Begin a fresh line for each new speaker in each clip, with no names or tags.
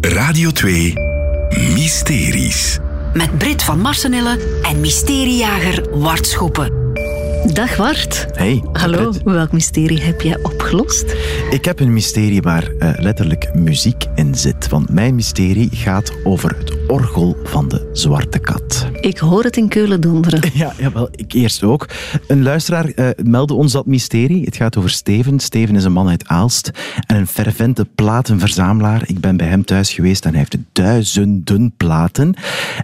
Radio 2 Mysteries.
Met Brit van Marsenille en mysteriejager Wart Schoppen.
Dag Wart.
Hey,
Hallo,
Fred.
welk mysterie heb jij opgelost?
Ik heb een mysterie waar eh, letterlijk muziek in zit. Want mijn mysterie gaat over het orgel van de zwarte kat.
Ik hoor het in Keulen donderen.
Ja, jawel, ik eerst ook. Een luisteraar eh, meldde ons dat mysterie. Het gaat over Steven. Steven is een man uit Aalst en een fervente platenverzamelaar. Ik ben bij hem thuis geweest en hij heeft duizenden platen.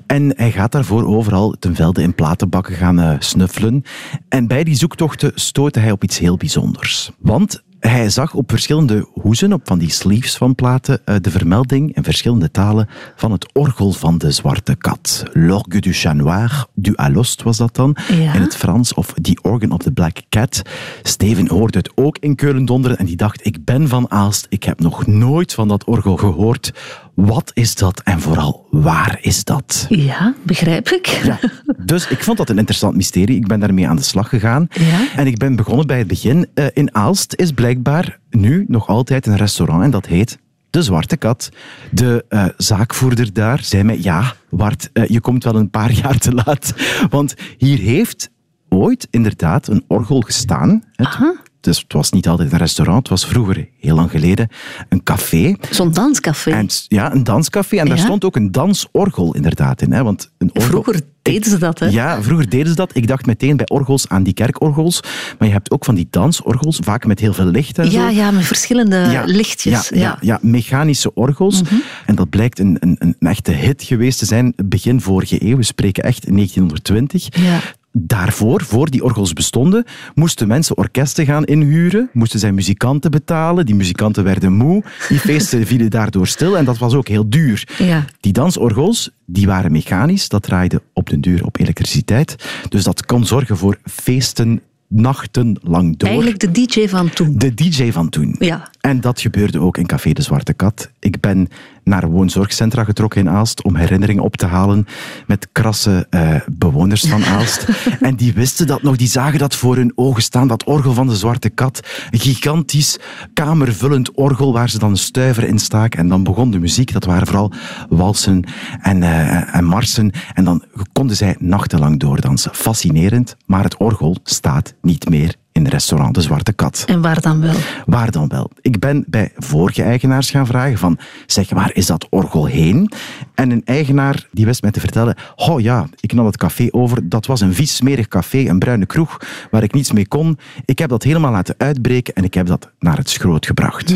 En hij gaat daarvoor overal ten velde in platenbakken gaan eh, snuffelen. En bij die zoektochten stootte hij op iets heel bijzonders. Want hij zag op verschillende hoezen, op van die sleeves van platen, eh, de vermelding in verschillende talen van het orgel van de zwarte kat. L'orgue du chat noir, du alost was dat dan.
Ja.
In het Frans, of The Organ of the Black Cat. Steven hoorde het ook in Keulen donderen en die dacht, ik ben van Aalst, ik heb nog nooit van dat orgel gehoord. Wat is dat en vooral, waar is dat?
Ja, begrijp ik.
Dus ik vond dat een interessant mysterie. Ik ben daarmee aan de slag gegaan.
Ja.
En ik ben begonnen bij het begin. Eh, in Aalst is blijkbaar nu nog altijd een restaurant en dat heet De Zwarte Kat. De eh, zaakvoerder daar zei mij, ja, Wart, eh, je komt wel een paar jaar te laat. Want hier heeft ooit inderdaad een orgel gestaan. Het, dus het was niet altijd een restaurant, het was vroeger, heel lang geleden, een café.
Zo'n danscafé.
En, s- ja, een danscafé. En daar
Ja.
stond ook een dansorgel inderdaad in. Hè, want een orgel...
Vroeger deden ze dat, hè?
Ja, vroeger deden ze dat. Ik dacht meteen bij orgels aan die kerkorgels. Maar je hebt ook van die dansorgels, vaak met heel veel licht en
ja,
zo.
ja, met verschillende eh, lichtjes. Mhm.
Ja, ja, ja, mechanische orgels. En dat blijkt een, een, een echte hit geweest te zijn begin vorige eeuw. We spreken echt 1920.
Ja.
Daarvoor, voor die orgels bestonden, moesten mensen orkesten gaan inhuren, moesten zij muzikanten betalen, die muzikanten werden moe, die feesten vielen daardoor stil en dat was ook heel duur.
Ja.
Die dansorgels die waren mechanisch, dat draaide op den duur op elektriciteit, dus dat kon zorgen voor feesten nachten lang door.
Eigenlijk de DJ van toen.
De DJ van toen.
Ja.
En dat gebeurde ook in Café de Zwarte Kat. Ik ben naar woonzorgcentra getrokken in Aalst om herinneringen op te halen met krasse eh, bewoners van Aalst. en die wisten dat nog, die zagen dat voor hun ogen staan, dat orgel van de Zwarte Kat. Een gigantisch kamervullend orgel waar ze dan een stuiver in staken. En dan begon de muziek, dat waren vooral walsen en, eh, en marsen. En dan konden zij nachtenlang doordansen. Fascinerend, maar het orgel staat niet meer in restaurant De Zwarte Kat.
En waar dan wel?
Waar dan wel? Ik ben bij vorige eigenaars gaan vragen van, zeg waar is dat orgel heen? En een eigenaar die wist mij te vertellen, oh ja, ik nam het café over, dat was een vies smerig café, een bruine kroeg, waar ik niets mee kon. Ik heb dat helemaal laten uitbreken en ik heb dat naar het schroot gebracht.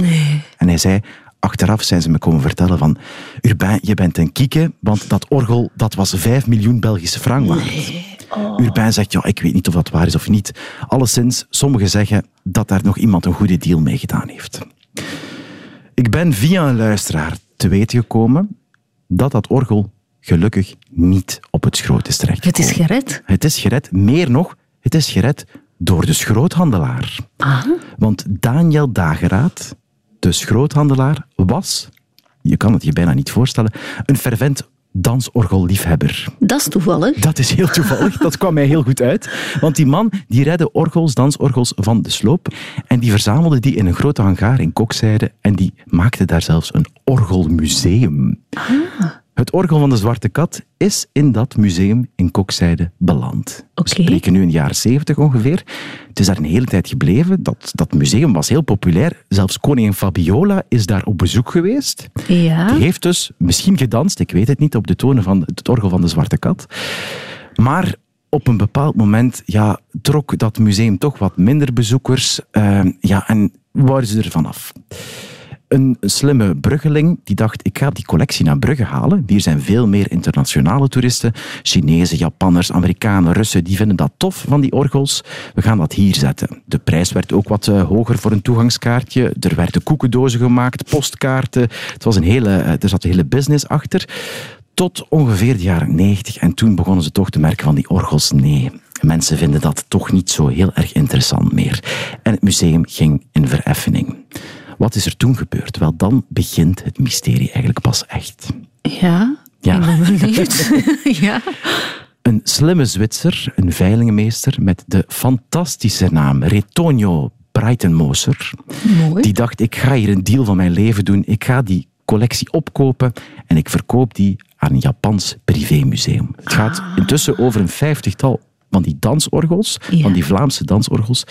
En hij zei, achteraf zijn ze me komen vertellen van, Urbain, je bent een kieke, want dat orgel, dat was 5 miljoen Belgische frank waard.
Oh.
Urbain zegt, ja, ik weet niet of dat waar is of niet. Alleszins, sommigen zeggen dat daar nog iemand een goede deal mee gedaan heeft. Ik ben via een luisteraar te weten gekomen dat dat orgel gelukkig niet op het schroot is
Het
terechtgekomen.
is gered.
Het is gered, meer nog, het is gered door de schroothandelaar.
Ah.
Want Daniel Dageraad, de schroothandelaar, was, je kan het je bijna niet voorstellen, een fervent dansorgelliefhebber.
Dat is toeval, hè?
Dat is heel toevallig. Dat kwam mij heel goed uit. Want die man die redde orgels, dansorgels van de sloop. En die verzamelde die in een grote hangaar in Kokzijde. En die maakte daar zelfs een orgelmuseum. Het orgel van de Zwarte Kat is in dat museum in Kokzijde beland.
Oké.
We spreken nu in de jaren zeventig ongeveer. Het is daar een hele tijd gebleven. Dat, dat museum was heel populair. Zelfs koningin Fabiola is daar op bezoek geweest.
Ja.
Die heeft dus misschien gedanst, ik weet het niet, op de tonen van het orgel van de Zwarte Kat. Maar op een bepaald moment ja, trok dat museum toch wat minder bezoekers. eh, ja, en waren ze er vanaf. Een slimme Bruggeling die dacht, ik ga die collectie naar Brugge halen. Hier zijn veel meer internationale toeristen. Chinezen, Japanners, Amerikanen, Russen, die vinden dat tof van die orgels. We gaan dat hier zetten. De prijs werd ook wat eh, hoger voor een toegangskaartje. Er werden koekendozen gemaakt, postkaarten. Het was een hele, eh, er zat een hele business achter. Tot ongeveer de jaren 90. En toen begonnen ze toch te merken van die orgels, nee. Mensen vinden dat toch niet zo heel erg interessant meer. En het museum ging in vereffening. Wat is er toen gebeurd? Wel, dan begint het mysterie eigenlijk pas echt.
Ja.
Ja.
Ik ben benieuwd. ja.
Een slimme Zwitser, een veilingenmeester met de fantastische naam Retonio Breitenmoser,
Mooi.
die dacht, ik ga hier een deal van mijn leven doen. Ik ga die collectie opkopen en ik verkoop die aan een Japans privémuseum. Het gaat
Ah.
intussen over een vijftigtal van die dansorgels,
Ja.
van die Vlaamse dansorgels.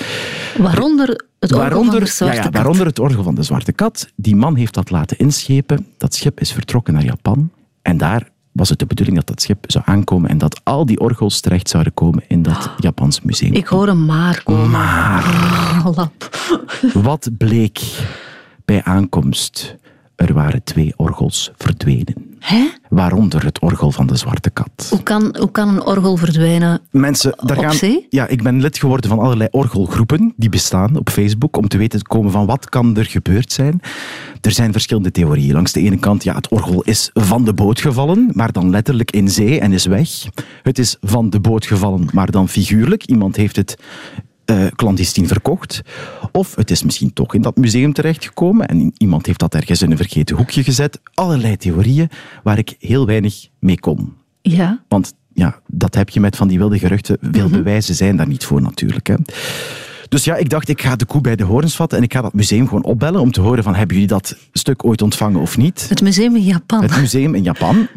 Waaronder het orgel van de zwarte
ja, ja,
kat.
waaronder het orgel van de Zwarte Kat. Die man heeft dat laten inschepen. Dat schip is vertrokken naar Japan. En daar was het de bedoeling dat dat schip zou aankomen en dat al die orgels terecht zouden komen in dat Japans museum.
Ah. Ik hoor een maar komen.
Maar
Ah, lap.
wat bleek bij aankomst? Er waren twee orgels verdwenen.
Hè?
Waaronder het orgel van de Zwarte Kat.
Hoe kan, hoe kan een orgel verdwijnen?
Mensen, daar
Op
gaan,
zee?
Ja, ik ben lid geworden van allerlei orgelgroepen die bestaan op Facebook om te weten te komen van wat kan er gebeurd zijn. Er zijn verschillende theorieën. Langs de ene kant, ja, het orgel is van de boot gevallen, maar dan letterlijk in zee en is weg. Het is van de boot gevallen, maar dan figuurlijk. Iemand heeft het eh clandestien verkocht. Of het is misschien toch in dat museum terechtgekomen en iemand heeft dat ergens in een vergeten hoekje gezet. Allerlei theorieën waar ik heel weinig mee kom.
Ja.
Want ja, dat heb je met van die wilde geruchten. Veel
Mhm.
bewijzen zijn daar niet voor natuurlijk. Hè. Dus ja, ik dacht, ik ga de koe bij de horens vatten en ik ga dat museum gewoon opbellen om te horen van, hebben jullie dat stuk ooit ontvangen of niet?
Het Ah. museum in Japan.
Het museum in Japan.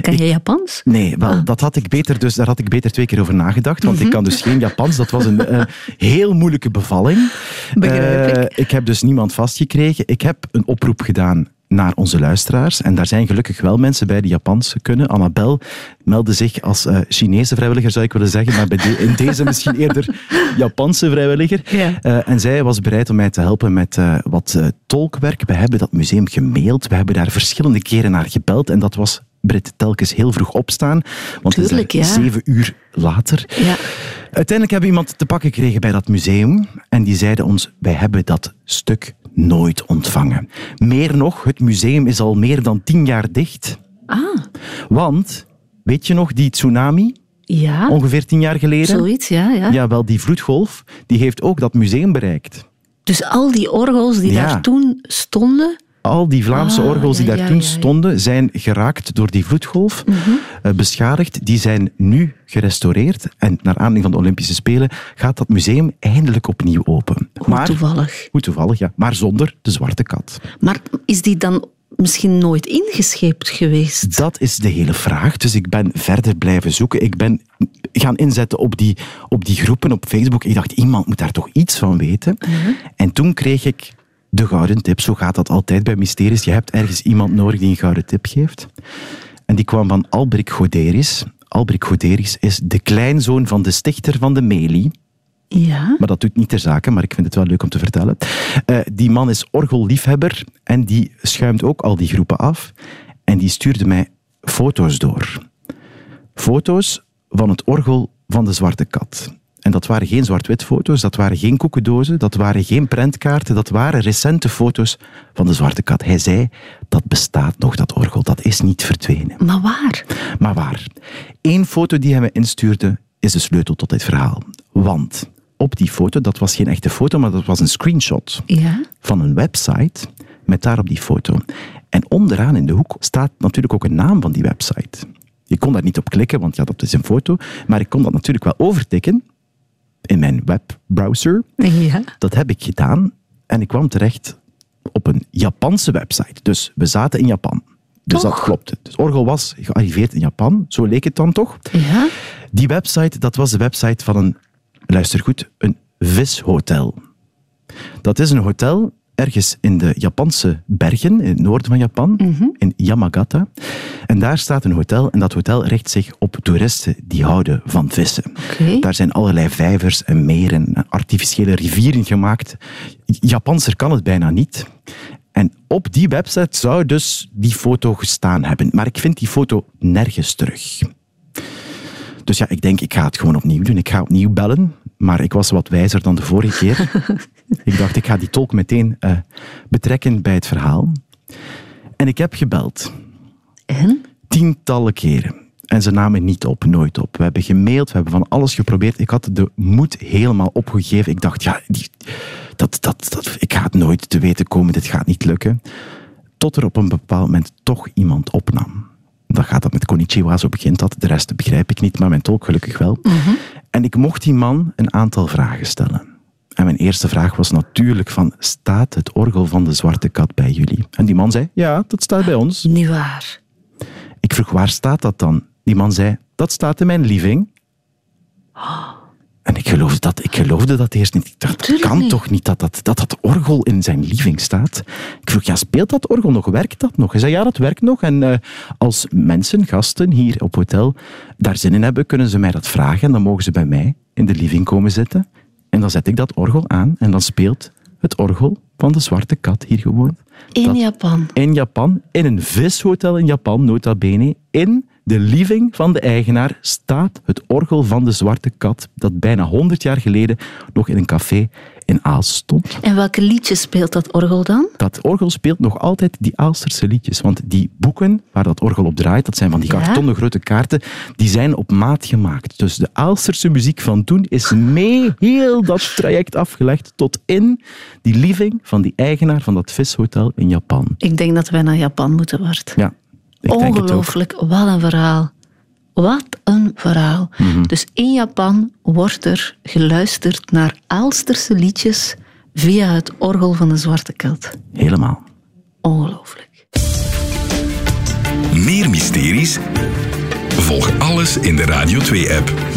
Kan je Japans?
Nee, wel, dat had ik beter, dus daar had ik beter twee keer over nagedacht. Want
Mhm.
ik kan dus geen Japans. Dat was een eh, heel moeilijke bevalling.
Begrijp
Eh,
ik.
heb dus niemand vastgekregen. Ik heb een oproep gedaan naar onze luisteraars. En daar zijn gelukkig wel mensen bij die Japans kunnen. Annabel meldde zich als eh, Chinese vrijwilliger, zou ik willen zeggen. Maar bij de- in deze misschien eerder Japanse vrijwilliger.
Ja.
Eh, en zij was bereid om mij te helpen met eh, wat eh, tolkwerk. We hebben dat museum gemaild. We hebben daar verschillende keren naar gebeld. En dat was Brit telkens heel vroeg opstaan. Want het is
Tuurlijk,
daar
ja.
zeven uur later.
Ja.
Uiteindelijk hebben we iemand te pakken gekregen bij dat museum. En die zeiden ons, wij hebben dat stuk nooit ontvangen. Meer nog, het museum is al meer dan tien jaar dicht.
Ah,
Want, weet je nog, die tsunami,
ja.
ongeveer tien jaar geleden...
Ah. Zoiets, ja, ja.
Ja, wel, die vloedgolf, die heeft ook dat museum bereikt.
Dus al die orgels die
Ja.
daar toen stonden,
Al die Vlaamse
Ah,
orgels die
ja,
daar
ja,
toen
ja, Mhm. ja.
stonden, zijn geraakt door die vloedgolf, eh, beschadigd. Die zijn nu gerestaureerd. En naar aanleiding van de Olympische Spelen gaat dat museum eindelijk opnieuw open.
hoe toevallig.
Goed toevallig, ja. Maar zonder de zwarte kat.
Maar is die dan misschien nooit ingescheept geweest?
Dat is de hele vraag. Dus ik ben verder blijven zoeken. Ik ben gaan inzetten op die, op die groepen op Facebook. Ik dacht, iemand moet daar toch iets van weten. En toen kreeg ik de gouden tip. Zo gaat dat altijd bij mysteries. Je hebt ergens iemand nodig die een gouden tip geeft. En die kwam van Albrecht Goderis. Albrecht Goderis is de kleinzoon van de stichter van de Meli.
Ja.
Maar dat doet niet ter zake, maar ik vind het wel leuk om te vertellen. Eh, die man is orgelliefhebber en die schuimt ook al die groepen af. En die stuurde mij foto's door. Foto's van het orgel van de Zwarte Kat. En dat waren geen zwart-wit foto's, dat waren geen koekendozen, dat waren geen prentkaarten, dat waren recente foto's van de Zwarte Kat. Hij zei, dat bestaat nog, dat orgel, dat is niet verdwenen.
Maar waar?
Maar waar? Eén foto die hij me instuurde is de sleutel tot dit verhaal. Want op die foto, dat was geen echte foto, maar dat was een screenshot
Ja.
van een website met daarop die foto. En onderaan in de hoek staat natuurlijk ook een naam van die website. Je kon daar niet op klikken, want ja, dat is een foto. Maar ik kon dat natuurlijk wel overtikken in mijn webbrowser.
Ja.
Dat heb ik gedaan en ik kwam terecht op een Japanse website. Dus we zaten in Japan. Dus dat
Toch?
klopte. Dus Orgel was gearriveerd in Japan, zo leek het dan toch.
Ja.
Die website, dat was de website van een, luister goed, een vishotel. Dat is een hotel ergens in de Japanse bergen, in het noorden van Japan, in Yamagata. En daar staat een hotel en dat hotel richt zich op toeristen die houden van vissen.
Oké.
Daar zijn allerlei vijvers en meren en artificiële rivieren gemaakt. Japanser kan het bijna niet. En op die website zou dus die foto gestaan hebben. Maar ik vind die foto nergens terug. Dus ja, ik denk, ik ga het gewoon opnieuw doen. Ik ga opnieuw bellen. Maar ik was wat wijzer dan de vorige keer. ik dacht, ik ga die tolk meteen eh, betrekken bij het verhaal. En ik heb gebeld
En?
tientallen keren. En ze namen niet op, nooit op. We hebben gemaild, we hebben van alles geprobeerd. Ik had de moed helemaal opgegeven. Ik dacht, ja, die, dat, dat, dat, ik ga het nooit te weten komen, dit gaat niet lukken. Tot er op een bepaald moment toch iemand opnam. Dan gaat dat met konnichiwa, zo begint dat. De rest begrijp ik niet, maar mijn tolk gelukkig wel. En ik mocht die man een aantal vragen stellen. En mijn eerste vraag was natuurlijk van, staat het orgel van de Zwarte Kat bij jullie? En die man zei, ja, dat staat bij ons.
Niet waar.
Ik vroeg, waar staat dat dan? Die man zei, dat staat in mijn living. En ik geloofde dat, ik geloofde dat eerst niet. Ik dacht, dat
Tuurlijk
kan
niet.
toch niet dat dat, dat dat orgel in zijn living staat? Ik vroeg, ja, speelt dat orgel nog? Werkt dat nog? Hij zei, ja, dat werkt nog. En eh, als mensen, gasten hier op hotel, daar zin in hebben, kunnen ze mij dat vragen. En dan mogen ze bij mij in de living komen zitten. En dan zet ik dat orgel aan en dan speelt het orgel van de Zwarte Kat hier gewoon.
In
Dat-
Japan.
in Japan, in een vishotel in Japan, nota bene, in de living van de eigenaar staat het orgel van de Zwarte Kat, dat bijna 100 jaar geleden nog in een café in Aals stond.
En welke liedjes speelt dat orgel dan?
Dat orgel speelt nog altijd die Aalsterse liedjes, want die boeken waar dat orgel op draait, dat zijn van die
Ja.
kartonnen grote kaarten, die zijn op maat gemaakt. Dus de Aalsterse muziek van toen is mee heel dat traject afgelegd tot in die living van die eigenaar van dat vishotel in Japan.
Ik denk dat wij naar Japan moeten, Bart.
Ja, ik denk het ook.
Ongelooflijk, wat een verhaal. Wat een verhaal.
Mhm.
Dus in Japan wordt er geluisterd naar Aalsterse liedjes via het orgel van de Zwarte Kat.
Helemaal.
Ongelooflijk.
Meer mysteries? Volg alles in de Radio 2-app.